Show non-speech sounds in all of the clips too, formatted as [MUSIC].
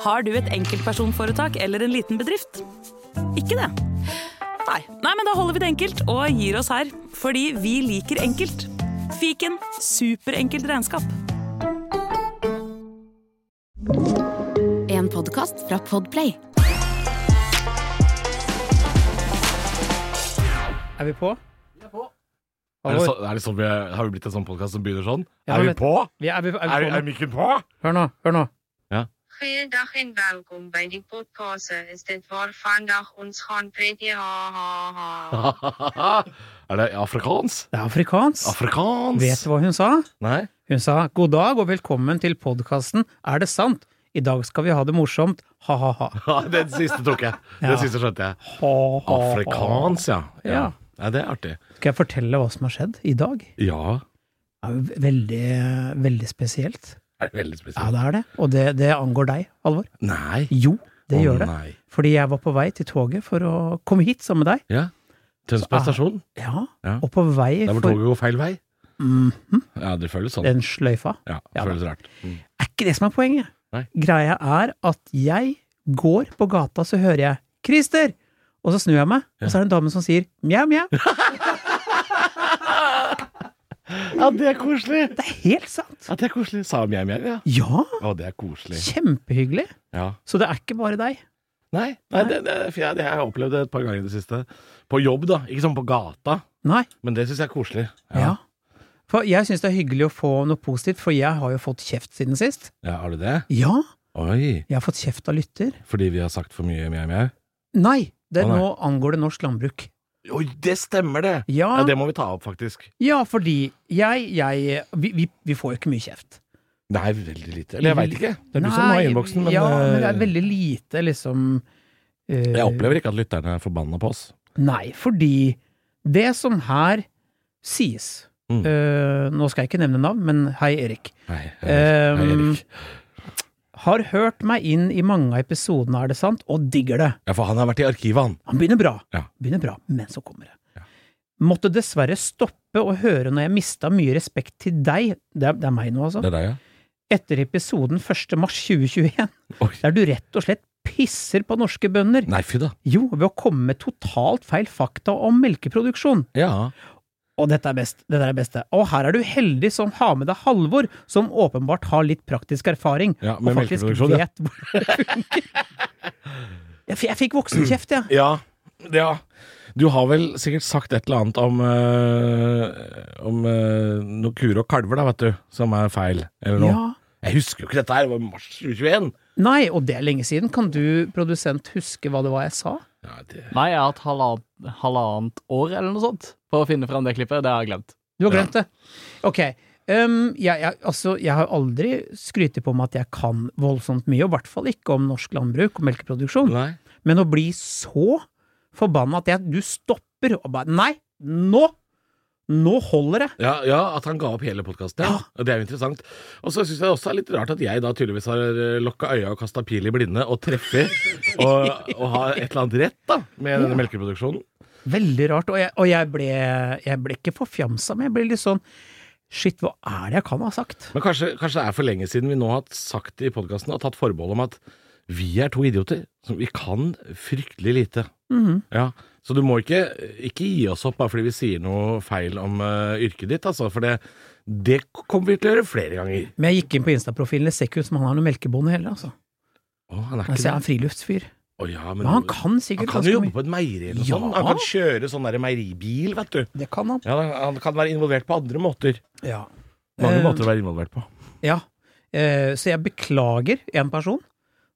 Har du et enkeltpersonforetak eller en liten bedrift? Ikke det? Nei. Nei, men da holder vi det enkelt og gir oss her. Fordi vi liker enkelt. Fiken superenkelt regnskap. En podkast fra Podplay. Er vi på? Er det, Halvor, så, er det sånn vi, har vi blitt en sånn podkast som begynner sånn? Ja, er vi men- på? vi er, vi, er, Er, vi på er nå? mikken på? Hør nå, hør nå. Goeiedag en welkom by die podcast. Is dit waar vandag ons gaan pretty ha ha ha. [LAUGHS] er det afrikans? Det er afrikansk. Afrikans! Vet du hva hun sa? Nei? [LAUGHS] Hun sa god dag og velkommen til podkasten Er det sant? I dag skal vi ha det morsomt, ha-ha-ha. Den siste tok jeg. Den Ja. siste skjønte jeg. Afrikansk. Afrikans, ja. ja. Ja. ja det er artig. Skal jeg fortelle hva som har skjedd i dag? Ja. Det er jo veldig, veldig spesielt. Er det veldig Ja, spesielt? det er det. Og det, det angår deg, Halvor. Nei. Jo, det Å, gjør det. Nei. Fordi jeg var på vei til toget for å komme hit sammen med deg. Ja. Så Tønsberg er- stasjon. Ja, Ja. Og på vei Der hvor for toget går feil vei. Ja, det føles sånn. den sløyfa. Ja, det Ja, føles rart. Mm. Er ikke det som er poenget. Nei. Greia er at jeg går på gata, så hører jeg 'Christer!' Og så snur jeg meg, og så er det en dame som sier 'mjau, mjau'. Ja, det er koselig! Det er helt sant! Ja, det er koselig. Sa mjau, mjau, ja. Ja! Å, det er koselig. Kjempehyggelig. Ja. Så det er ikke bare deg. Nei, nei det, det, for jeg, det har jeg opplevd et par ganger i det siste. På jobb, da. Ikke sånn på gata, Nei. men det syns jeg er koselig. Ja. For jeg syns det er hyggelig å få noe positivt, for jeg har jo fått kjeft siden sist. Ja, Har du det? Ja, Oi. jeg har fått kjeft av lytter. Fordi vi har sagt for mye mjau, mjau? Nei! Det, Å, nei. Nå angår det norsk landbruk. Oi, det stemmer, det! Ja, Ja, ja, Det må vi ta opp, faktisk. fordi jeg, jeg vi, vi, vi får jo ikke mye kjeft. Nei, veldig lite. Eller jeg veit ikke. Det er du Nei, som har innboksen, men, Ja, men det er eh, veldig lite, liksom eh, Jeg opplever ikke at lytterne er forbanna på oss. Nei, fordi det som her sies Mm. eh, Nå skal jeg ikke nevne navn, men hei, Erik. Nei, jeg- jeg- Ehm, Erik. Har hørt meg inn i mange av episodene, er det sant, og digger det. Ja, for han har vært i arkivet, han. Han begynner bra, Ja. begynner bra, men så kommer det. Måtte dessverre stoppe å høre når jeg mista mye respekt til deg, det er, det er meg nå altså, Det er deg, ja? etter episoden 1. mars 2021, Oi. der du rett og slett pisser på norske bønder. Nei, fy da. Jo, ved å komme med totalt feil fakta om melkeproduksjon. Ja. Og dette er best, dette er det beste. Og her er du heldig som har med deg Halvor, som åpenbart har litt praktisk erfaring. Ja, og med faktisk melkeproduksjon, ja. vet hvordan det funker. Jeg, f- jeg fikk voksenkjeft, jeg. Ja. ja. Du har vel sikkert sagt et eller annet om, øh, om øh, noen kuer og kalver, da, vet du, som er feil, eller noe. Ja. Jeg husker jo ikke dette her, det var mars 2021. Nei, og det er lenge siden. Kan du, produsent, huske hva det var jeg sa? Ja, det... Nei, jeg har hatt halvannet, halvannet år eller noe sånt på å finne fram det klippet. Det har jeg glemt. Du har glemt det? Ok. Um, jeg, jeg, altså, jeg har aldri skrytt på meg at jeg kan voldsomt mye, og i hvert fall ikke om norsk landbruk og melkeproduksjon. Nei. Men å bli så forbanna at jeg, du stopper og bare Nei, nå! Nå holder det! Ja, ja, at han ga opp hele podkasten. Ja. og Det er jo interessant. Og så syns jeg også det er litt rart at jeg da tydeligvis har øh, lokka øya og kasta pil i blinde og treffer og, og har et eller annet rett da med denne melkeproduksjonen. Veldig rart. Og jeg, og jeg, ble, jeg ble ikke forfjamsa, men jeg ble litt sånn Shit, hva er det jeg kan ha sagt? Men kanskje, kanskje det er for lenge siden vi nå har sagt i podkasten og tatt forbehold om at vi er to idioter som vi kan fryktelig lite. Mhm. Ja, Så du må ikke, ikke gi oss opp bare fordi vi sier noe feil om eh, yrket ditt, altså. For det, det kommer vi til å gjøre flere ganger. Men jeg gikk inn på Insta-profilen. Det ser ikke ut som han har noen melkebonde heller, altså. Å, han er Jeg ikke ser han det. er friluftsfyr. Å, ja, men, Men han kan han sikkert kan ganske jo jobbe mye. på et meieri eller noe Ja. sånt. Han kan kjøre sånn der meieribil, vet du. Det kan han. Ja, Han kan være involvert på andre måter. Ja. Mange Eh, måter å være involvert på. Ja. Eh, Så jeg beklager én person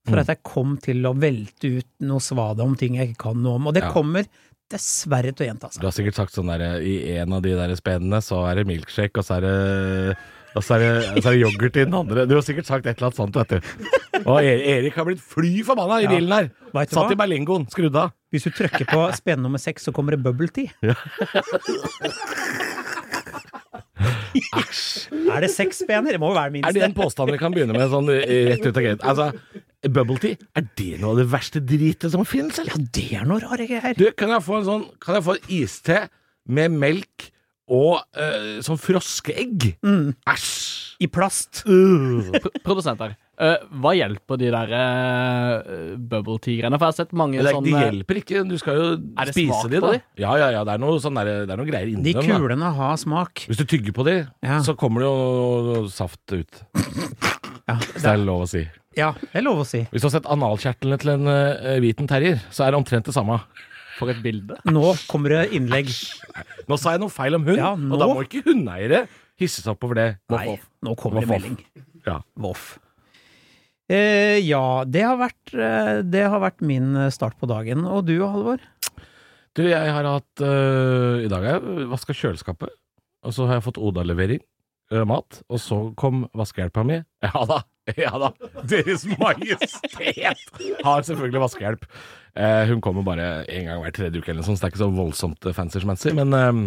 Mm. for at jeg kom til å velte ut noe svada om ting jeg ikke kan noe om. Og det Ja. kommer dessverre til å gjenta seg. Du har sikkert sagt sånn der I en av de der spennene så er det milkshake, og så er det og så er, det, så er det yoghurt i den andre. Du har sikkert sagt et eller annet sånt, vet du. Og E- Erik har blitt fly forbanna i Ja. bilen her. Vet du Satt hva? i berlingoen, skrudd av. Hvis du trykker på spenne nummer seks, så kommer det bubble tea. Æsj. Er det seks spener? Det må jo være minst Er det en påstand vi kan begynne med sånn eh, rett ut av gate? Altså, bubble tea, er det noe av det verste dritet som finnes, eller? Ja, det er noe rare greier. Du, kan jeg få en sånn Kan jeg få en iste med melk og eh, sånn froskeegg? Æsj! I plast. Uh. Pro produsent her. Eh, hva hjelper de der eh, bubble tea-greiene? For jeg har sett mange Det, er, sånn, sånne de eh, hjelper ikke, du skal jo Er det spise smak de, på da. de? Ja, ja, ja, det er noe, sånn der, det er noe greier inni De dem. da. kulene har smak. Hvis du tygger på de, Ja. så kommer det jo saft ut. [LAUGHS] Ja, Hvis det er lov å si. ja, det er lov å si. Hvis du har sett analkjertlene til en eh, hviten terrier, så er det omtrent det samme. For et bilde. Nå kommer det innlegg. Nå sa jeg noe feil om hund, Ja, nå- og da må ikke hundeeiere hisse seg opp over det. Voff, Nei, voff. nå kommer det Voff, voff. melding. Ja. Voff. Eh, ja, det har, vært, eh, det har vært min eh, start på dagen. Og du, Halvor? Du, jeg har hatt øh, I dag har jeg vaska kjøleskapet, og så har jeg fått Oda-levering. øh, Mat, og så kom vaskehjelpa mi. [LAUGHS] Ja da, ja da! Deres Majestet har selvfølgelig vaskehjelp. Eh, hun kommer bare en gang hver tredje uke, eller noe sånt, så det er ikke så voldsomt fancy-schmancy. Men ehm,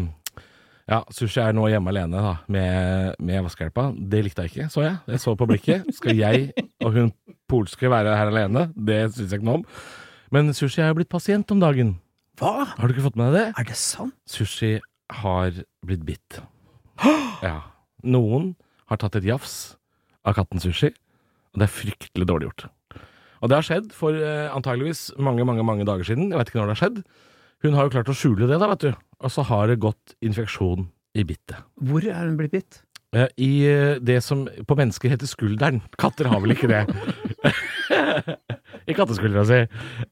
ja, sushi er nå hjemme alene da, med, med vaskehjelpa. Det likte jeg ikke, så jeg. Jeg så på blikket. Skal jeg og hun polske være her alene? Det syns jeg ikke noe om. Men sushi er jo blitt pasient om dagen. Hva? Har du ikke fått med deg det? Er det sant? Sushi har blitt bitt. Ja. Noen har tatt et jafs av katten Sushi, og det er fryktelig dårlig gjort. Og det har skjedd for eh, antageligvis mange, mange mange dager siden. Jeg vet ikke når det har skjedd. Hun har jo klart å skjule det, da, vet du. Og så har det gått infeksjon i bittet. Hvor er hun blitt bitt? Eh, I eh, det som på mennesker heter skulderen. Katter har vel ikke det. I katteskuldra si.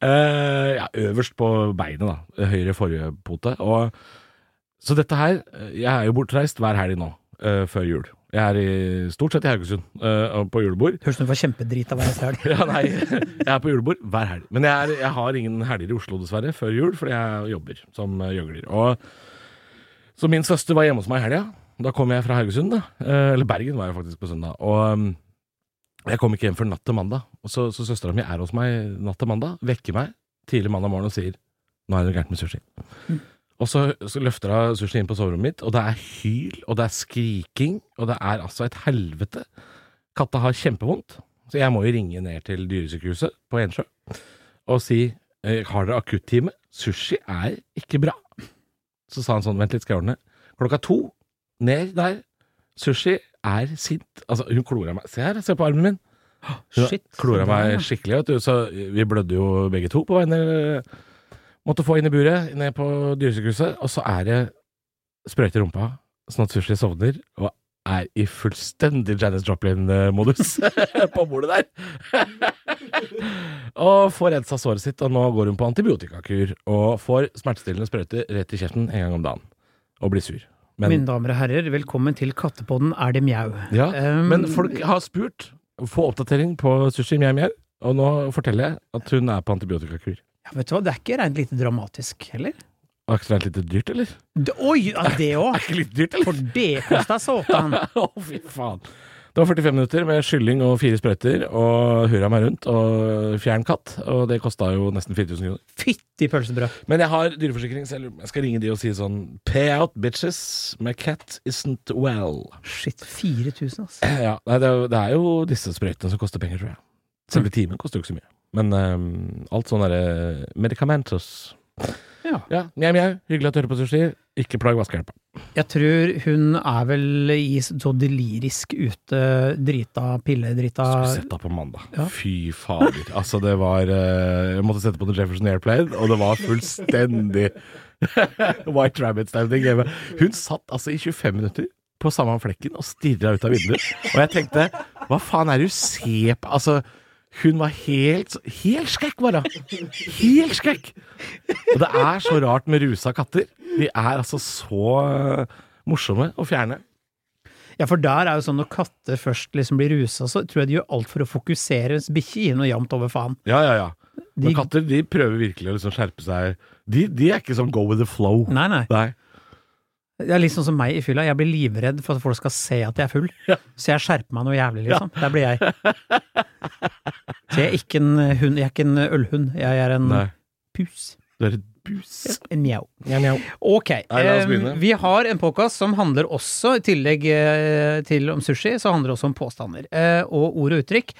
Eh, ja, øverst på beinet, da. Høyre forpote. Og, så dette her eh, Jeg er jo bortreist hver helg nå, eh, før jul. Jeg er i, stort sett i Haugesund eh, og på julebord. Høres ut som hun får kjempedrit av å være selv. [LAUGHS] Ja, nei, jeg er på julebord hver helg. Men jeg, er, jeg har ingen helger i Oslo, dessverre, før jul, fordi jeg jobber som eh, gjøgler. Og, så min søster var hjemme hos meg i helga. Da kom jeg fra Haugesund, da. Eh, Eller Bergen var jeg faktisk på søndag. Og um, jeg kom ikke hjem før natt til mandag. Og så, så søstera mi er hos meg natt til mandag, vekker meg tidlig mandag morgen og sier nå er det noe gærent med sushi. Og så, så løfter hun sushi inn på soverommet mitt, og det er hyl, og det er skriking, og det er altså et helvete. Katta har kjempevondt, så jeg må jo ringe ned til dyresykehuset på Ensjø og si eh, har dere akuttime? Sushi er ikke bra. Så sa han sånn, vent litt, skal jeg ordne. Klokka to, ned der. Sushi er sint. Altså, hun klora meg. Se her, se på armen min. Hun Shit. klora meg skikkelig, vet du. Så vi blødde jo begge to på vegne Måtte få inn i buret, ned på dyresykehuset, og så er det sprøyte i rumpa, sånn at Sushi sovner, og er i fullstendig Janis Joplin-modus [LAUGHS] på bordet der. [LAUGHS] og får rensa såret sitt, og nå går hun på antibiotikakur, og får smertestillende sprøyte rett i kjeften en gang om dagen, og blir sur. Men, Mine damer og herrer, velkommen til Kattepodden er det mjau. ja, Um, men folk har spurt, få oppdatering på Sushi Mjau Mjau, og nå forteller jeg at hun er på antibiotikakur. ja, Vet du hva, det er ikke rent lite dramatisk heller. Har ikke det vært litt dyrt, eller? Det, oi, ja, det [LAUGHS] Er òg! ikke litt dyrt, eller? For det kosta såtan! [LAUGHS] Å, fy faen. Det var 45 minutter med skylling og fire sprøyter og hurra meg rundt og fjern katt, og det kosta jo nesten 4000 kroner. Fytti pølsebrød! Men jeg har dyreforsikring, så jeg lurer- jeg skal ringe de og si sånn Pay out, bitches. My cat isn't well. Shit, 4000, altså. Ja, nei, det, er, jo- det er jo disse sprøytene som koster penger, tror jeg. Selve timen koster jo ikke så mye. Men ehm, alt sånn derre medicamentos. Ja. Ja, mjau, mjau. Hyggelig at du hører på sushi. Ikke plag vaskehjelpa. Jeg tror hun er vel i så delirisk ute, drita, pilledrita Skulle sett deg på mandag. Ja. Fy fader. Altså, det var eh, Jeg måtte sette på The Jefferson Airplane, og det var fullstendig [LAUGHS] White Rabbit-stemning hjemme. Hun satt altså i 25 minutter på samme flekken og stirra ut av vinduet. Og jeg tenkte, hva faen er det du ser på? Altså, hun var helt Helt skrekk, bare. Helt skrekk. Og det er så rart med rusa katter. De er altså så eh, morsomme å fjerne. Ja, for der er jo sånn når katter først liksom blir rusa, så tror jeg de gjør alt for å fokusere, mens bikkjer gir noe jevnt over faen. Ja, ja, ja. De- Men katter de prøver virkelig å liksom skjerpe seg. De, de er ikke som go with the flow. Nei, nei. Nei. Det er litt sånn som meg i fylla. Jeg blir livredd for at folk skal se at jeg er full. Så jeg skjerper meg noe jævlig, liksom. Der blir jeg. Så jeg er ikke en eh, hund, jeg er ikke en ølhund. Jeg er en Nei. pus. Du er et bus. En mjau. Mjau, mjau. Ok. Nei, la oss eh, begynne. vi har en podkast som handler også, i tillegg eh, til om sushi, så handler det også om påstander. eh, Og ord og uttrykk.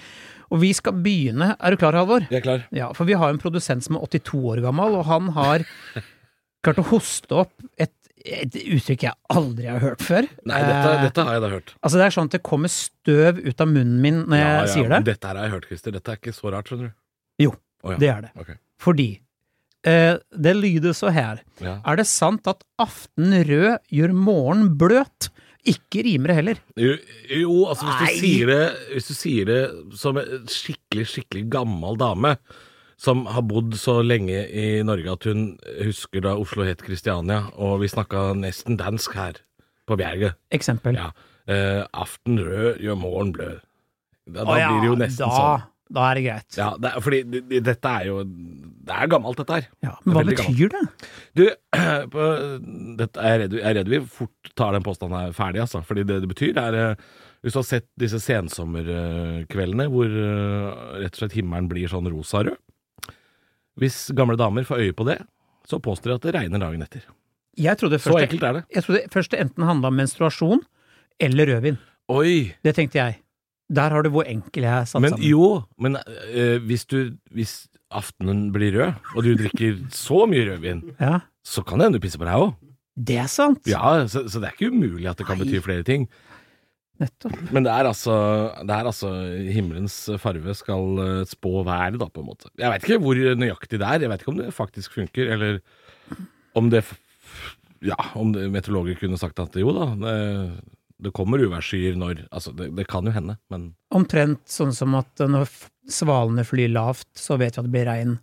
Og vi skal begynne Er du klar, Halvor? Jeg er klar. Ja, for vi har en produsent som er 82 år gammel, og han har klart å hoste opp et et uttrykk jeg aldri har hørt før. Nei, dette, Eh, dette har jeg da hørt. Altså Det er sånn at det kommer støv ut av munnen min når jeg Ja, ja, sier det. men Dette her har jeg hørt, Christer. Dette er ikke så rart, skjønner du. Jo, Å, ja. det er det. Ok. Fordi eh, det lyder så her. Ja. Er det sant at aften rød gjør morgen bløt? Ikke rimer det heller. Jo, jo, altså hvis Nei. du, sier det, hvis du sier det som en skikkelig, skikkelig gammel dame som har bodd så lenge i Norge at hun husker da Oslo het Kristiania, og vi snakka nesten dansk her på Bjerget. Eksempel. Ja. Eh, aften rød gjør morgen blød. Da, da Å ja, blir det jo nesten da, sånn. Da er det greit. Ja, det er, fordi det- det- dette er jo Det er gammelt, dette her. Ja, men hva Det er veldig betyr det? Du, [CLEARS THROAT] på, dette, jeg, er redd, jeg er redd vi fort tar den påstanden her ferdig, altså. Fordi det det betyr, er eh, Hvis du har sett disse sensommerkveldene hvor eh, rett og slett himmelen blir sånn rosarød Hvis gamle damer får øye på det, så påstår de at det regner dagen etter. Jeg trodde Så først, enkelt er det. jeg trodde først det enten handla om menstruasjon eller rødvin. Oi! Det tenkte jeg. Der har du hvor enkel jeg er satt Men sammen. jo, men eh, hvis du Hvis aftenen blir rød, og du drikker så mye rødvin, Ja, så kan det hende du pisser på deg òg. det er sant. Ja, så, så det er ikke umulig at det kan Nei. bety flere ting. Nettopp. Men det er altså, det er altså himmelens farve skal eh, spå været, da, på en måte. Jeg veit ikke hvor nøyaktig det er, jeg veit ikke om det faktisk funker, eller om det f- Ja, om det, meteorologer kunne sagt at jo da, det, det kommer uværsskyer når Altså, det, det kan jo hende, men Omtrent sånn som at når f- svalene flyr lavt, så vet vi at det blir regn.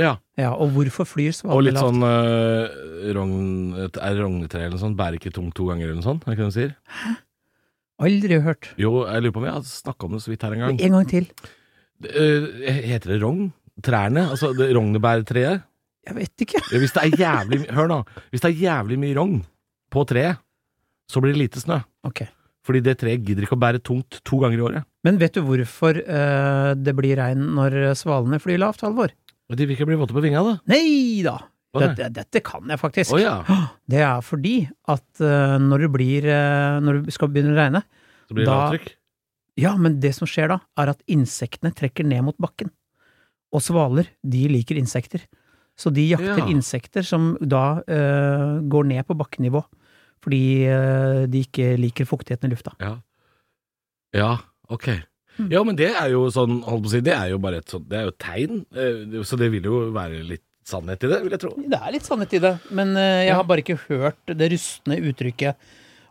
Ja. Ja, og hvorfor flyr svalene Og litt lavt? sånn eh, rogn, et er rognetreet eller noe sånt bærer ikke tungt to ganger eller noe sånt, er det ikke det de sier? Aldri hørt. Jo, jeg lurer på om jeg har snakka om det så vidt her en gang. En gang til. Eh, heter det rogn? Trærne? Altså det rognebærtreet? Jeg vet ikke. Ja, Hvis det er jævlig my- Hør nå. Hvis det er jævlig mye rogn på treet, så blir det lite snø. Ok. Fordi det treet gidder ikke å bære tungt to ganger i året. Men vet du hvorfor eh, det blir regn når svalene flyr lavt, Halvor? Og de vil ikke bli våte på vinga, da. Nei da! Hva Dette, dette kan jeg faktisk. Å ja. [GASPS] Det er fordi at eh, når det blir eh, Når det skal begynne å regne Så blir det Da- lavtrykk. Ja, men det som skjer da, er at insektene trekker ned mot bakken. Og svaler, de liker insekter. Så de jakter Ja. insekter som da eh, går ned på bakkenivå. Fordi eh, de ikke liker fuktigheten i lufta. Ja. ja, ok. Ja, men det er jo sånn, holdt på å si, det er jo bare et sånt, det er jo et tegn. Eh, Så det vil jo være litt sannhet i det, vil jeg tro. Det er litt sannhet i det, men eh, jeg har bare ikke hørt det rustne uttrykket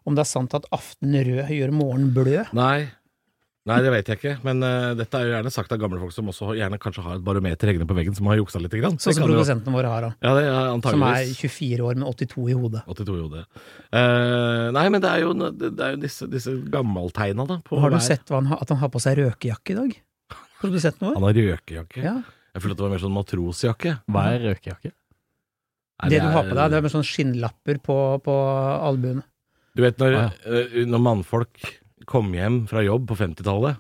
om det er sant at aften rød gjør morgen blød. Nei. Nei, det vet jeg ikke, men eh, dette er jo gjerne sagt av gamle folk som også gjerne kanskje har et barometer hengende på veggen som har juksa litt. Grann. Sånn Det som kan jo- produsenten vår har, da. Ja, det er Som er antageligvis. 24 år, men 82 i hodet. 82 i hodet. Eh, nei, men det er jo, det er jo disse, disse gammeltegna, da. på Har du hver- sett hva han, har- at han har på seg røkejakke i dag? Produsenten vår? Han har røkejakke. Ja. Jeg følte at det var mer sånn matrosjakke. Hva er røkejakke? Nei, det, du er- har på deg, det er med sånne skinnlapper på, på albuene. Du vet når, Ah, eh, når mannfolk kom hjem fra jobb på 50-tallet,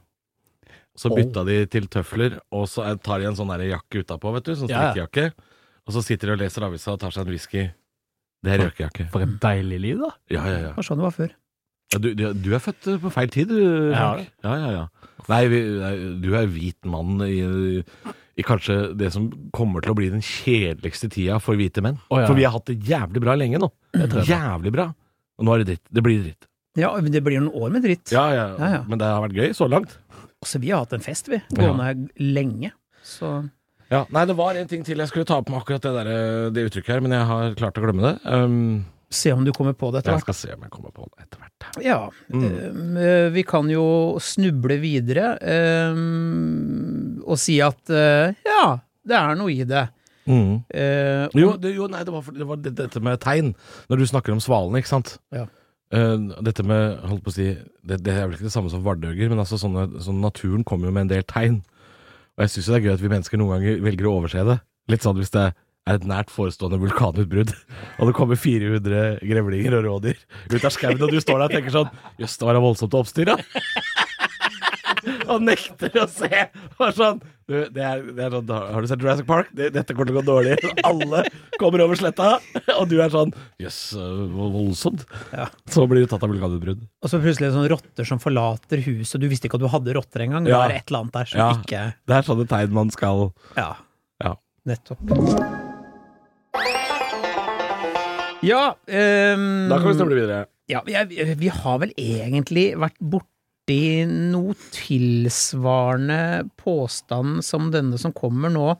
så Oh. bytta de til tøfler, og så er- tar de en sånn der jakke utapå, vet du, sånn Ja, ja. strikkejakke, og så sitter de og leser avisa og tar seg en whisky. Det er røkejakke. For et deilig liv, da. Ja, ja, ja. Det var sånn det var før. Ja, Du, du, du er født eh, på feil tid, du. Ja. Henrik. ja, ja, ja. Nei, vi, nei, du er hvit mann i, i kanskje det som kommer til å bli den kjedeligste tida for hvite menn. Å, ja. For vi har hatt det jævlig bra lenge nå. Jævlig bra. Og nå er det dritt. Det blir dritt. Ja, men det blir jo noen år med dritt. Ja, ja, Ja, ja. Men det har vært gøy så langt. Også vi har hatt en fest, vi. Gående lenge. Så Ja, Nei, det var en ting til jeg skulle ta opp med akkurat det, der, eh, det uttrykket her, men jeg har klart å glemme det. Um, se om du kommer på det etter jeg hvert. skal se om jeg kommer på det etter hvert. Ja. Mm. eh, Vi kan jo snuble videre eh, og si at eh, ja, det er noe i det. Mm. Eh, Jo, det, jo nei, det var, for- det var det- dette med tegn. Når du snakker om svalene, ikke sant? Ja. Eh, dette med, holdt på å si, det, det er vel ikke det samme som vardøger, men altså sånne, sånn naturen kommer jo med en del tegn. Og jeg syns jo det er gøy at vi mennesker noen ganger velger å overse det. Litt sånn hvis det er et nært forestående vulkanutbrudd, [LAUGHS] og det kommer 400 grevlinger og rådyr ut av skauen, og du står der og tenker sånn Jøss, det var da voldsomt oppstyr, da. Og nekter å se. Og sånn du, det er, det er sånn, Har du sett Jurassic Park? Det, dette kommer til å gå dårlig. Alle kommer over sletta, og du er sånn Jøss, øh, hvor voldsomt. Ja. Så blir du tatt av vulkanutbrudd. Og så plutselig er det sånne rotter som forlater huset, og du visste ikke at du hadde rotter engang. Ja. Det er et eller annet der som Ja. ikke Det er sånne tegn man skal Ja. Ja. Nettopp. Ja, ehm, Da kan vi snuble videre. ja vi, er- vi har vel egentlig vært borti noe tilsvarende påstand som denne som kommer nå.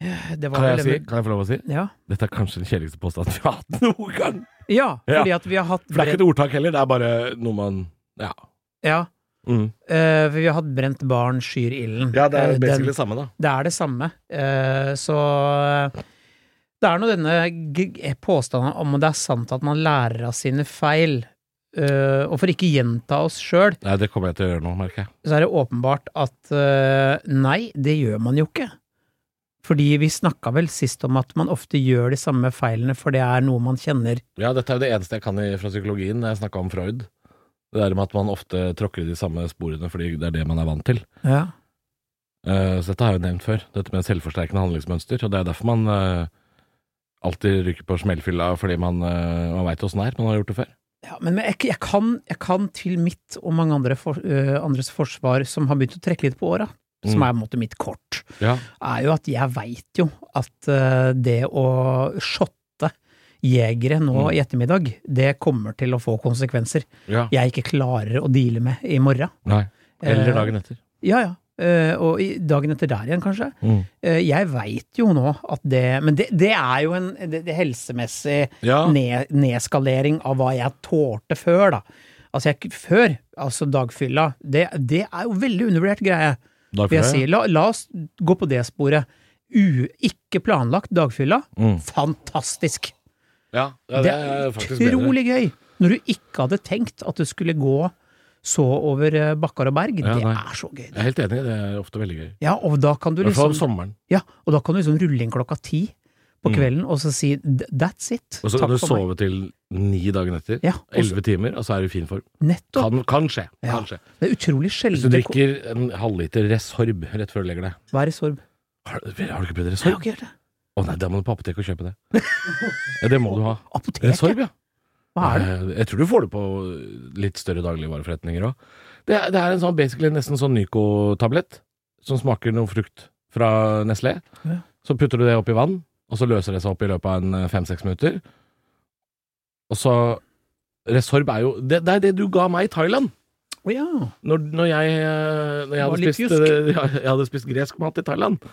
Det var Kan jeg, vel si, denne- kan jeg få lov å si? Ja. Dette er kanskje den kjedeligste påstanden vi har hatt noen gang. ja, Ja. fordi at vi har hatt For det er ikke et ordtak heller, det er bare noe man Ja. ja, Mm. eh, for vi har hatt brent barn skyr ilden. Ja, det Eh, er den- basically det samme, da. Det er det samme. Eh, Så eh, det er nå denne g- påstanden om det er sant at man lærer av sine feil. Eh, Og for ikke gjenta oss sjøl, Nei, det kommer jeg til å gjøre nå, merker jeg. så er det åpenbart at eh, nei, det gjør man jo ikke. Fordi vi snakka vel sist om at man ofte gjør de samme feilene, for det er noe man kjenner. Ja, dette er jo det eneste jeg kan i, fra psykologien. Jeg snakka om Freud. Det der med at man ofte tråkker i de samme sporene fordi det er det man er vant til. Ja. Eh, så dette har jeg jo nevnt før, dette med selvforsterkende handlingsmønster. Og det er derfor man eh, alltid ryker på smellfylla fordi man, uh, man veit åssen det er. Man har gjort det før. men jeg, jeg, kan, jeg kan til mitt og mange andre for, eh, andres forsvar, som har begynt å trekke litt på åra, som Mm. er på en måte mitt kort. Ja. er jo at jeg veit jo at eh, det å shotte jegere nå Mm. i ettermiddag, det kommer til å få konsekvenser ja. jeg ikke klarer å deale med i morgen. Nei. Eller Eh, dagen etter. Ja, ja. Eh, og i dagen etter der igjen, kanskje. Eh, jeg veit jo nå at det Men det, det er jo en det, det helsemessig Ja. ne- nedskalering av hva jeg tålte før, da. Altså, jeg, før, altså dagfylla, det, det er jo veldig undervurdert greie Dag vil jeg før, si. ja. La, la oss gå på det sporet. U, ikke planlagt dagfylla. Mm. Fantastisk! Ja, ja, Det det er er faktisk bedre. Utrolig gøy! Når du ikke hadde tenkt at du skulle gå så over eh, bakker og berg. Ja, det nei. er så gøy. Jeg er helt enig, det er ofte veldig gøy. Ja, og da kan du I hvert fall sånn liksom, om sommeren. ja, og da kan du liksom rulle inn klokka ti på Mm. kvelden og så si "D- that's it. Og så kan Takk du for meg." sove til ni dagen etter. Ja, og så, Elleve timer, og så er du i fin form. nettopp. Kan, kan skje. Ja. Kan skje. Det er utrolig Hvis du sjelden det ko- drikker en halvliter Resorb rett før du legger deg Vær i sorg. Har, har du ikke Jeg prøvd har Resorb? ikke gjort det. Å nei, da må du på apoteket og kjøpe det. Ja, det må du ha. Apoteket? Resorb, ja. Hva er det? Eh, Jeg tror du får det på litt større dagligvareforretninger òg. Det, er- det er en sånn, basically nesten sånn Nyco-tablett som smaker noe frukt fra Nestlé. Ja. Så putter du det opp i vann, og så løser det seg opp i løpet av en eh, fem-seks minutter. Og så Resorb er jo det, det er det du ga meg i Thailand. Å ja. Når, når jeg, eh, når jeg, Var hadde litt spist, eh, [LAUGHS] ja, jeg hadde spist gresk mat i Thailand.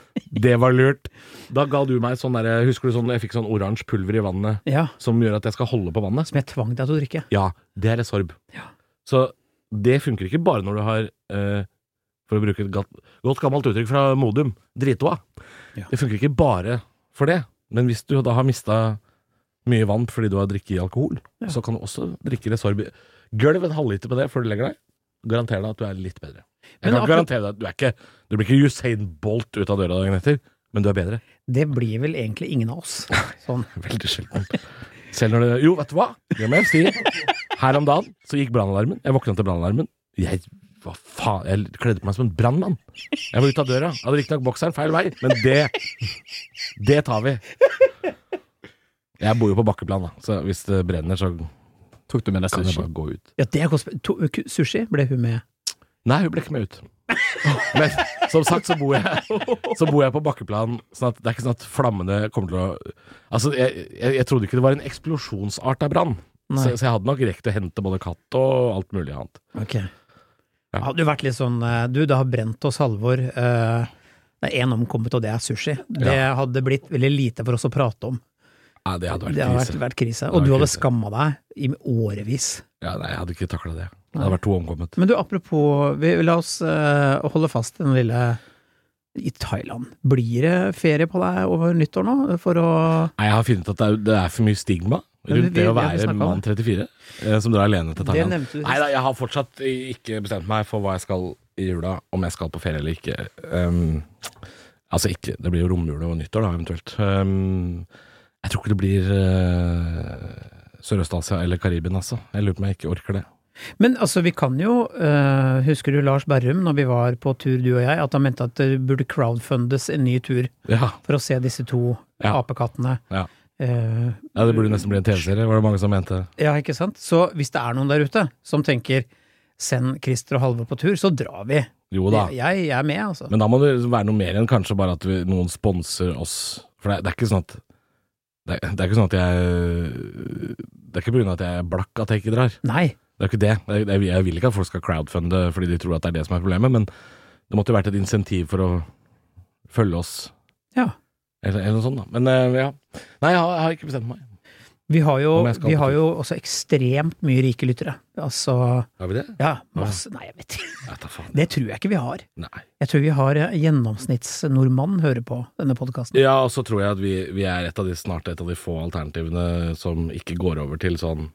Det var lurt. Da ga du meg sånn derre Husker du sånn jeg fikk sånn oransje pulver i vannet ja. som gjør at jeg skal holde på vannet? Som jeg tvang deg til å drikke. Ja, det er resorb. Ja. Så det funker ikke bare når du har, eh, for å bruke et godt, godt gammelt uttrykk fra Modum, dritoa. Ja. Det funker ikke bare for det. Men hvis du da har mista mye vann fordi du har drikket i alkohol, Ja. så kan du også drikke resorb. i- Gølv en halvliter på det før du legger deg. Garanter deg at du er litt bedre. Jeg Men kan akkurat- garantere deg at du er ikke Du blir ikke Usain Bolt ut av døra dagen etter, men du er bedre. Det blir vel egentlig ingen av oss. Sånn. Veldig sjelden. Selv når det Jo, vet du hva? Det må jeg si. Her om dagen så gikk brannalarmen. Jeg våkna til brannalarmen. Jeg hva faen, jeg kledde på meg som en brannmann. Jeg var ute av døra. Jeg hadde riktignok bokseren feil vei, men det Det tar vi. Jeg bor jo på bakkeplan, da, så hvis det brenner, så Tok du med deg kan jeg sushi? bare gå ut. Ja, det er godt sp- to, ku- Sushi ble hun med. Nei, hun ble ikke med ut. Men som sagt så bor jeg, så bor jeg på bakkeplan, sånn at det er ikke sånn at flammene kommer til å Altså, jeg, jeg, jeg trodde ikke det var en eksplosjonsart av brann. Nei. Så, så jeg hadde nok rekt å hente både katt og alt mulig annet. Ok. Ja. Hadde du vært litt sånn eh, Du, det har brent oss Halvor. eh, Det er én omkommet, og det er sushi. Det hadde blitt veldig lite for oss å prate om. Ja, det hadde vært Det hadde vært, krise. vært krise. Det Og hadde du vært hadde krise. skamma deg i årevis. Ja, nei, jeg hadde ikke takla det. Det hadde vært to omkommet. Men du, apropos vi, La oss eh, holde fast i den lille i Thailand. Blir det ferie på deg over nyttår nå? For å Nei, jeg har funnet ut at det er, det er for mye stigma Men rundt vi- det å vi har ikke være snakket om mann 34 eh, som drar alene til Det Thailand. nevnte du Nei da, jeg har fortsatt ikke bestemt meg for hva jeg skal i jula, om jeg skal på ferie eller ikke. Ehm, altså ikke Det blir jo romjula og nyttår, da, eventuelt. Ehm, jeg tror ikke det blir eh, Sørøst-Asia eller Karibien, altså. Jeg lurer på om jeg ikke orker det. Men altså, vi kan jo eh, Husker du Lars Berrum, når vi var på tur, du og jeg, at han mente at det burde crowdfundes en ny tur Ja, for å se disse to Ja. apekattene? Ja. Eh, ja Det burde nesten bli en TV-serie, var det mange som mente. ja, ikke sant? Så hvis det er noen der ute som tenker send Christer og Halvor på tur, så drar vi. Jo da. Jeg, jeg er med, altså. Men da må det være noe mer enn kanskje bare at vi, noen sponser oss. For det, er- det er ikke sånn at Det, er- det er ikke sånn at jeg Det er ikke pga. at jeg er blakk at jeg ikke drar. Nei. Det er ikke det. Det er- det er- Jeg vil ikke at folk skal crowdfunde fordi de tror at det er det som er problemet, men det måtte jo vært et insentiv for å følge oss, Ja. eller, eller noe sånt. da. Men eh, ja. Nei, jeg har, jeg har ikke bestemt meg. Vi har jo, Om jeg skal vi på har tur. jo også ekstremt mye rike lyttere. Altså, Har vi det? ja, masse Nei, jeg vet ikke. Jeg tar faen. Det tror jeg ikke vi har. Nei. Jeg tror vi har eh, gjennomsnittsnordmann hører på denne podkasten. Ja, og så tror jeg at vi, vi er et av de, snart et av de få alternativene som ikke går over til sånn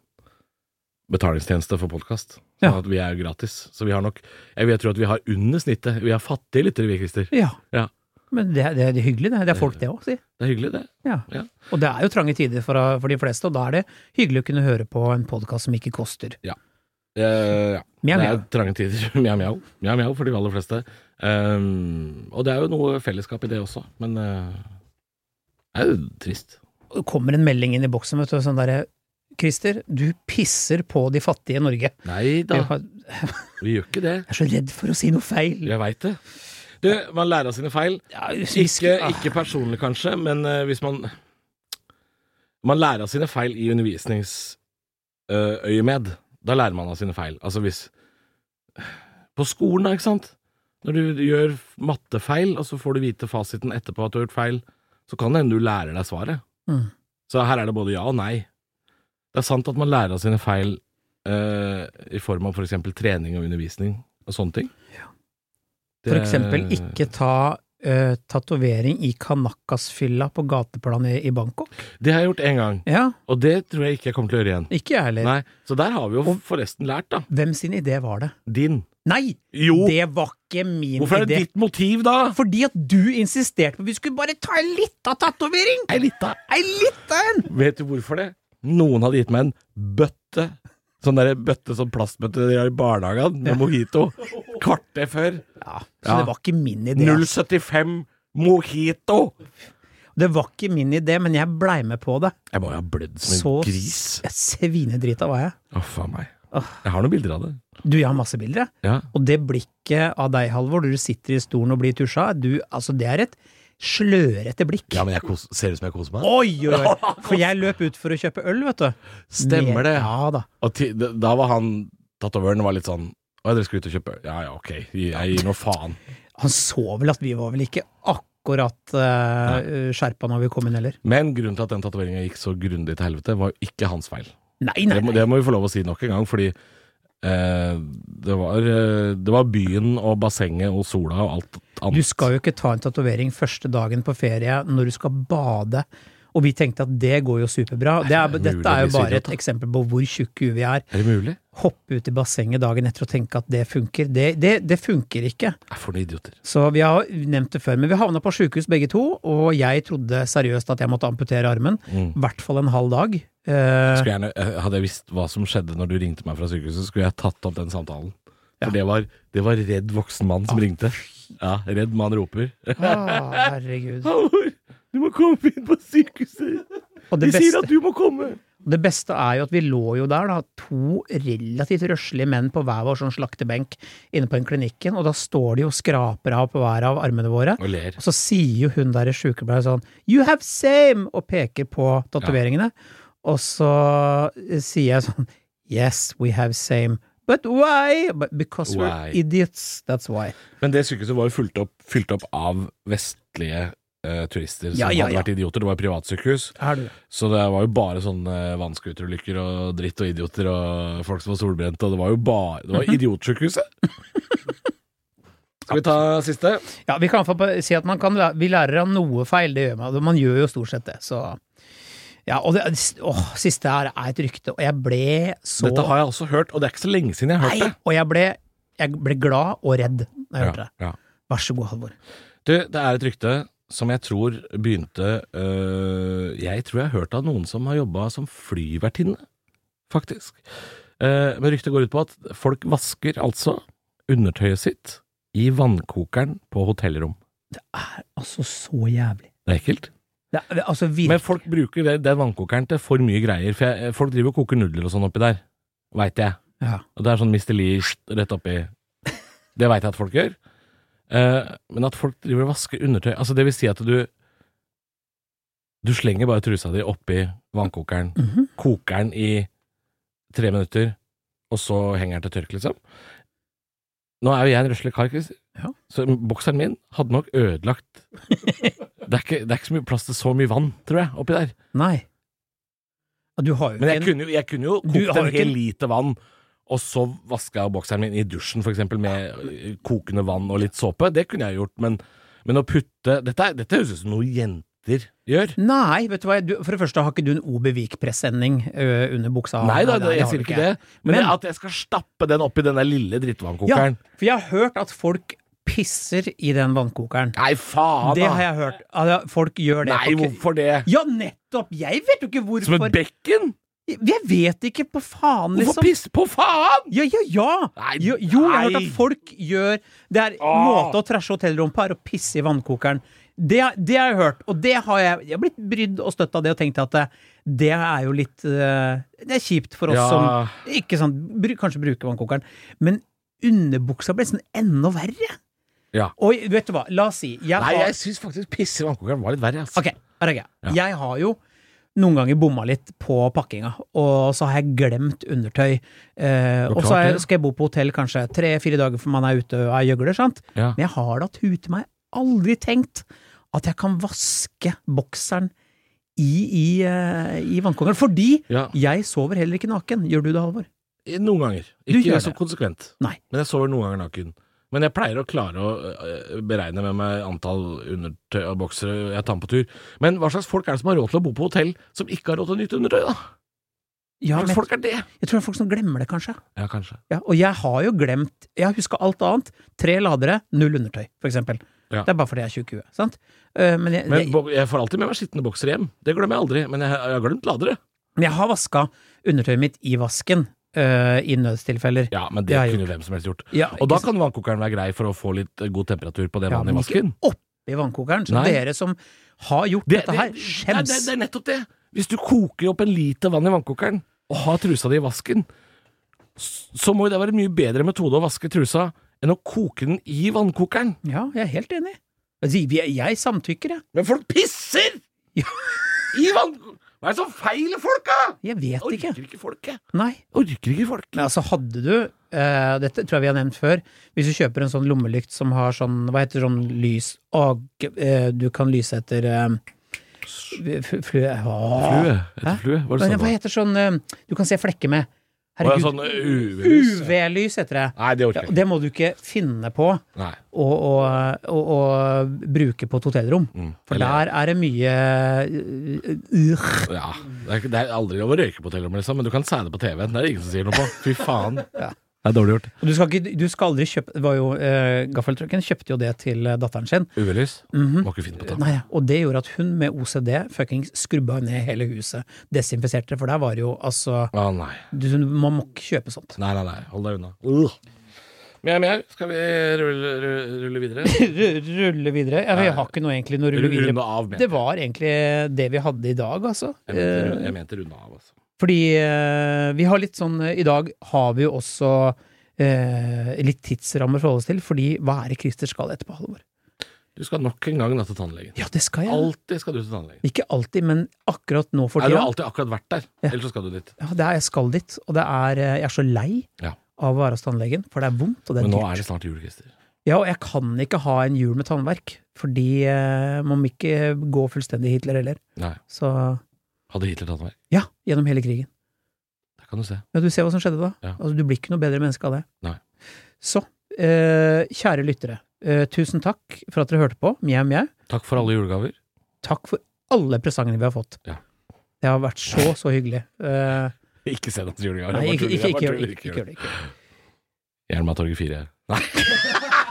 betalingstjeneste for podkast. Sånn Ja. at vi er jo gratis. Så vi har nok Jeg vil tro at vi har under snittet. Vi er fattige lyttere, vi, Christer. Ja. Ja. Men det, er- det, er- det er hyggelig, det. Det er folk, det òg, si. Det er hyggelig, det. Ja. Ja. Og det er jo trange tider for, eh, for de fleste, og da er det hyggelig å kunne høre på en podkast som ikke koster. Eh, ja. Mjau, det mjau. er trange tider. [LAUGHS] Mjau, mjau. Mjau, mjau for de aller fleste. Ehm, og det er jo noe fellesskap i det også, men eh, det er jo trist. Det kommer en melding inn i boksen, vet du, sånn derre Christer, du pisser på de fattige i Norge. Nei da, Jeg har- vi gjør ikke det. jeg er så redd for å si noe feil. Jeg veit det. Du, man lærer av sine feil. Ja, hvis vi Ikke, skal- ah, ikke personlig, kanskje, men eh, hvis man Man lærer av sine feil i undervisningsøyemed. da lærer man av sine feil. Altså hvis På skolen, da, ikke sant? Når du gjør mattefeil, og så får du vite fasiten etterpå at du har gjort feil, så kan det hende du lærer deg svaret. Mm. Så her er det både ja og nei. Det er sant at man lærer av sine feil eh, i form av for eksempel trening og undervisning og sånne ting. For eksempel ikke ta uh, tatovering i Kanakas-fylla på gateplan i, i Bangkok. Det har jeg gjort én gang. Ja, Og det tror jeg ikke jeg kommer til å gjøre igjen. ikke jeg heller. Nei, Så der har vi jo forresten lært, da. Hvem sin idé var det? Din. Nei! Jo! Det var ikke min Hvorfor er det idé. ditt motiv, da? Fordi at du insisterte på at vi skulle bare ta en lita tatovering! Ei lita. Ei lita en! Vet du hvorfor det? Noen hadde gitt meg en bøtte. Sånn der bøtte, sånn plastbøtte de har i barnehagen med mojito. Kvarter før. Så Ja. det var ikke min idé. ass. 075 mojito! Det var ikke min idé, men jeg blei med på det. Jeg må jo ha blødd som en Så gris. s- svinedrita var jeg. Å, faen meg. Jeg har noen bilder av det. Du, jeg har masse bilder, jeg. Ja. Og det blikket av deg, Halvor, når du sitter i stolen og blir tusja, du, altså, det er et slørete blikk. ja, men jeg kos- ser ut som jeg koser meg. Oi, oi, [LAUGHS] oi! For jeg løp ut for å kjøpe øl, vet du. Stemmer det. Ja da. Og ti, da da var han tatovøren var litt sånn Å, dere skal ut og kjøpe Ja ja, ok, jeg gir nå faen. Han så vel at vi var vel ikke akkurat eh, skjerpa når vi kom inn heller. Men grunnen til at den tatoveringa gikk så grundig til helvete, var jo ikke hans feil. Nei, Det nei, må, nei. det må vi få lov å si nok en gang, fordi eh, det, var, eh, det var byen og bassenget og sola og alt annet. Du skal jo ikke ta en tatovering første dagen på ferie når du skal bade. Og vi tenkte at det går jo superbra. Det er, det er mulig dette er å jo bli så bare idiot, et da. eksempel på hvor tjukke vi er. Er det mulig? Hoppe ut i bassenget dagen etter og tenke at det funker. Det, det, det funker ikke. Nei, for noen idioter. Så vi har nevnt det før, men vi havna på sjukehus begge to, og jeg trodde seriøst at jeg måtte amputere armen. I hvert fall en halv dag. Eh, [LAUGHS] Skulle gjerne, eh, hadde jeg visst hva som skjedde når du ringte meg fra sykehuset, skulle jeg tatt opp den samtalen. For det, var, det var redd voksen mann som ringte. Ja, redd mann roper. ah, herregud. Halvor, du må komme inn på sykehuset! Og det beste, du må komme! det beste er jo at vi lå jo der, da, to relativt røslige menn på hver vår sånn slaktebenk inne på den klinikken, og da står de og skraper av på hver av armene våre. Og ler. Og så sier jo hun der sykepleier sånn You have same! Og peker på tatoveringene. Og så eh, sier jeg sånn Yes, we have same. But why? But because Why? we're idiots. That's why. Men det sykehuset var jo fylt opp, fylt opp av vestlige eh, turister som Ja, ja, hadde ja. vært idioter. Det var et privatsykehus, Er du? så det var jo bare sånne vannskuterulykker og dritt og idioter og folk som var solbrente, og det var jo bare Det var idiotsjukehuset! Skal vi ta siste? Ja, vi kan i hvert fall si at man kan, læ- vi lærer av noe feil. Det gjør man. Man gjør jo stort sett det. Så ja, og det, åh, siste her er et rykte, og jeg ble så Dette har jeg også hørt, og det er ikke så lenge siden jeg har hørt Nei, det. og jeg ble, jeg ble glad og redd da jeg hørte det. Ja, ja. Vær så god, Halvor. Du, det er et rykte som jeg tror begynte øh, Jeg tror jeg har hørt av noen som har jobba som flyvertinne, faktisk. Eh, men ryktet går ut på at folk vasker altså undertøyet sitt i vannkokeren på hotellrom. Altså, så jævlig. Det er ekkelt. Det er, altså, virkelig. Men folk bruker det- den vannkokeren til for mye greier. For jeg, folk driver og koker nudler og sånn oppi der, veit jeg. Ja. Og det er sånn Mr. Lee sht, rett [LAUGHS] oppi. Det veit jeg at folk gjør. Eh, men at folk driver og vasker undertøy Altså, det vil si at du Du slenger bare trusa di oppi vannkokeren, Mhm. koker den i tre minutter, og så henger den til tørk, liksom. Nå er jo jeg en røslig kar, Chris. Ja. Så bokseren min hadde nok ødelagt det, er ikke, det er ikke så mye plass til så mye vann, tror jeg, oppi der. Nei. Ja, Du har jo Men jeg ikke en kunne, jo- jeg kunne jo Du kokt har en ikke hel en- liter vann, og så vaska jeg bokseren min i dusjen, for eksempel, med eh, kokende vann og litt såpe. Det kunne jeg gjort, men, men å putte Dette, er- dette høres ut som noe jenter gjør. Nei, vet du hva, du, for det første har ikke du en OB Vik-presenning ø, under buksa. Nei da, det jeg har sier du ikke det. Men, Men- at jeg skal stappe den oppi den der lille Ja, drittvannkokeren for jeg har hørt at folk pisser i den vannkokeren. Nei, faen, da! Det har jeg hørt. Ja, Folk gjør det. Nei, Ok. hvorfor det? Ja, nettopp! Jeg vet jo ikke Som hvorfor. et bekken? Jeg vet ikke på faen, Hvorfor liksom. pisse på faen?! Ja, ja, ja! Sånn? Nei, Jo, jo, jeg har hørt nei. Ah. at folk gjør Det er en Åh. måte å trashe hotellrom på, er å pisse i vannkokeren. Det, det har jeg hørt, og det har jeg, jeg har blitt brydd og støtt av det og tenkt at det, det er jo litt eh, Det er kjipt for oss Ja. som ikke sant, bru, kanskje bruker vannkokeren. Men underbuksa ble nesten enda verre. Ja. Og vet du hva, la oss si jeg Nei, har- jeg syns faktisk pisse i vannkokeren var litt verre, altså. Ok, her er greia. Jeg har jo noen ganger bomma litt på pakkinga, og så har jeg glemt undertøy. Eh, var og så klart har jeg, det. skal jeg bo på hotell kanskje tre-fire dager før man er ute og er gjøgler, sant? Ja. Men jeg har da tute meg aldri tenkt at jeg kan vaske bokseren i, i, eh, i vannkongeren. Fordi Ja. jeg sover heller ikke naken. Gjør du det, Halvor? Noen ganger. Du Ikke gjør så det. konsekvent. Nei. Men jeg sover noen ganger naken. Men jeg pleier å klare å øh, beregne med meg antall undertøy og boksere jeg tar med på tur. Men hva slags folk er det som har råd til å bo på hotell som ikke har råd til å nyte undertøy, da? Ja, Hva men slags folk er det? jeg tror det er folk som glemmer det, kanskje. Ja, kanskje. Ja, og jeg har jo glemt Jeg huska alt annet. Tre ladere, null undertøy, for eksempel. Ja. Det er bare fordi jeg er tjukk i huet. Sant? Eh, men jeg, Men jeg, bo- jeg får alltid med meg skitne boksere hjem. Det glemmer jeg aldri. Men jeg, jeg har glemt ladere. Men jeg har vaska undertøyet mitt i vasken øh, i nødstilfeller. Ja, men Det det har jeg kunne hvem som helst gjort. Ja, Og da ikke kan vannkokeren være grei for å få litt eh, god temperatur på det Ja, vannet i men ikke vasken. sant? i vannkokeren. Så Nei. dere som har gjort dette her, det, skjems! det, det er nettopp det. Hvis du koker opp en liter vann i vannkokeren og har trusa di i vasken, s- så må jo det være en mye bedre metode å vaske trusa enn å koke den i vannkokeren. Ja, jeg er helt enig. Altså, vi- Jeg samtykker, jeg. Men folk pisser! Ja. I vann... Hva er det som feiler folk, da? Jeg vet Orker ikke. ikke folket. Nei. Orker ikke folk. Men altså, hadde du eh, Dette tror jeg vi har nevnt før. Hvis du kjøper en sånn lommelykt som har sånn Hva heter sånn lys Og eh, du kan lyse etter eh, fl- Flue Flue? Flue. Hæ? Etter flue. Hva er Hva det sånn? heter sånn eh, Du kan se flekker med. Herregud. Herregud. Sånn uh, UV-lys. UV-lys heter det. Nei, det Ja, og orker jeg ikke. det må du ikke finne på å, Nei. å, å, å bruke på et hotellrom. Mm. For Eller- der er det mye øh, øh, Ja, det er, ikke- det er aldri lov å røyke på hotellrommet, liksom, men du kan sæde på TV-en. Det er det ingen som sier noe på. Fy faen. Det er dårlig gjort. Og du skal, ikke, du skal aldri kjøpe Det var jo uh, Gaffeltrucken kjøpte jo det til eh, datteren sin. UV-lys Mhm. må ikke finne på det. Nei, og det gjorde at hun med OCD fuckings skrubba ned hele huset. Desinfiserte, for der var det jo altså Å nei. du, Man må ikke kjøpe sånt. Nei, nei, nei. Hold deg unna. Ugh. Mjau, mjau. Skal vi rulle, rulle, rulle videre? [LAUGHS] Rulle videre. Ja, vi Nei. har ikke noe egentlig noe rulle Rulle, videre. runde av, mente Det jeg. var egentlig det vi hadde i dag, altså. Jeg mente, jeg mente runde av, altså. Fordi eh, vi har litt sånn eh, I dag har vi jo også eh, litt tidsrammer å forholde oss til, fordi hva er det Christer skal etterpå, Halvor? Du skal nok en gang da til tannlegen. Ja, det skal jeg. Alltid skal du til tannlegen. Ikke alltid, men akkurat nå for Nei, du tida. har alltid akkurat vært der, Ja. ellers så skal du dit. Ja, det er, jeg skal dit, og det er eh, Jeg er så lei Ja. av å være hos tannlegen, for det er vondt, og det er Men nå dyrt. er det snart jul, Christer. Ja, og jeg kan ikke ha en jul med tannverk, fordi eh, man må ikke gå fullstendig Hitler heller. Nei. Så Hadde Hitler tannverk? ja, gjennom hele krigen. Det kan du se. Ja, du ser hva som skjedde da. Ja. Altså, du blir ikke noe bedre menneske av det. Nei. Så, eh, kjære lyttere, eh, tusen takk for at dere hørte på. Mjau, mjau. Takk for alle [LAUGHS] julegaver. Takk for alle presangene vi har fått. Ja. Det har vært så, så hyggelig. Eh, Ikke send oss julegaver. nei, Jeg ikke, ikke, bare ikke, tuller, gjør det, jeg bare tuller, ikke gjør det. Ikke. gjør det. Jernbanetorget 4. [LAUGHS] Nei.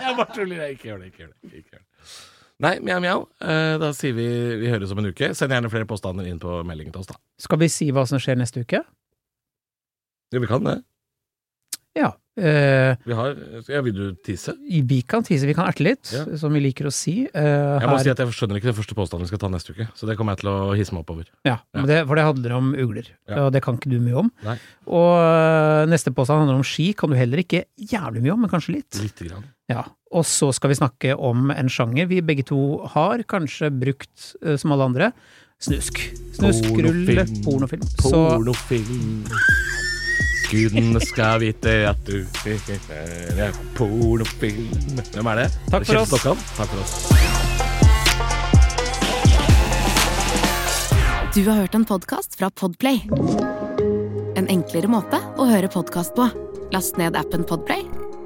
jeg bare tuller. Jeg ikke gjør det. Ikke gjør det. Ikke gjør det. Nei, mjau, mjau. Eh, Da sier vi vi høres om en uke. Send gjerne flere påstander inn på meldingen til oss, da. Skal vi si hva som skjer neste uke? Ja, vi kan det. Ja. Eh, Vi har ja, Vil du tisse? vi kan tise, vi kan erte litt, Ja. som vi liker å si. eh, Jeg må her. si at jeg skjønner ikke den første påstanden vi skal ta neste uke, så det kommer jeg til å hisse meg opp over. Ja, men Det, for det handler om ugler, Ja. og det kan ikke du mye om. Nei. Og øh, neste påstand handler om ski, kan du heller ikke jævlig mye om, men kanskje litt. Lite grann. Ja. Og så skal vi snakke om en sjanger vi begge to har, kanskje brukt øh, eh, som alle andre, Snusk. Snuskrulle, Pornofilm. pornofilm. Så Pornofilm. Gudene skal vite at du er pornofilm. Hvem er det? Takk for Kjell oss. Stokkan? Takk for oss. Du har hørt en podcast fra Podplay En enklere måte å høre podcast på Last ned appen Podplay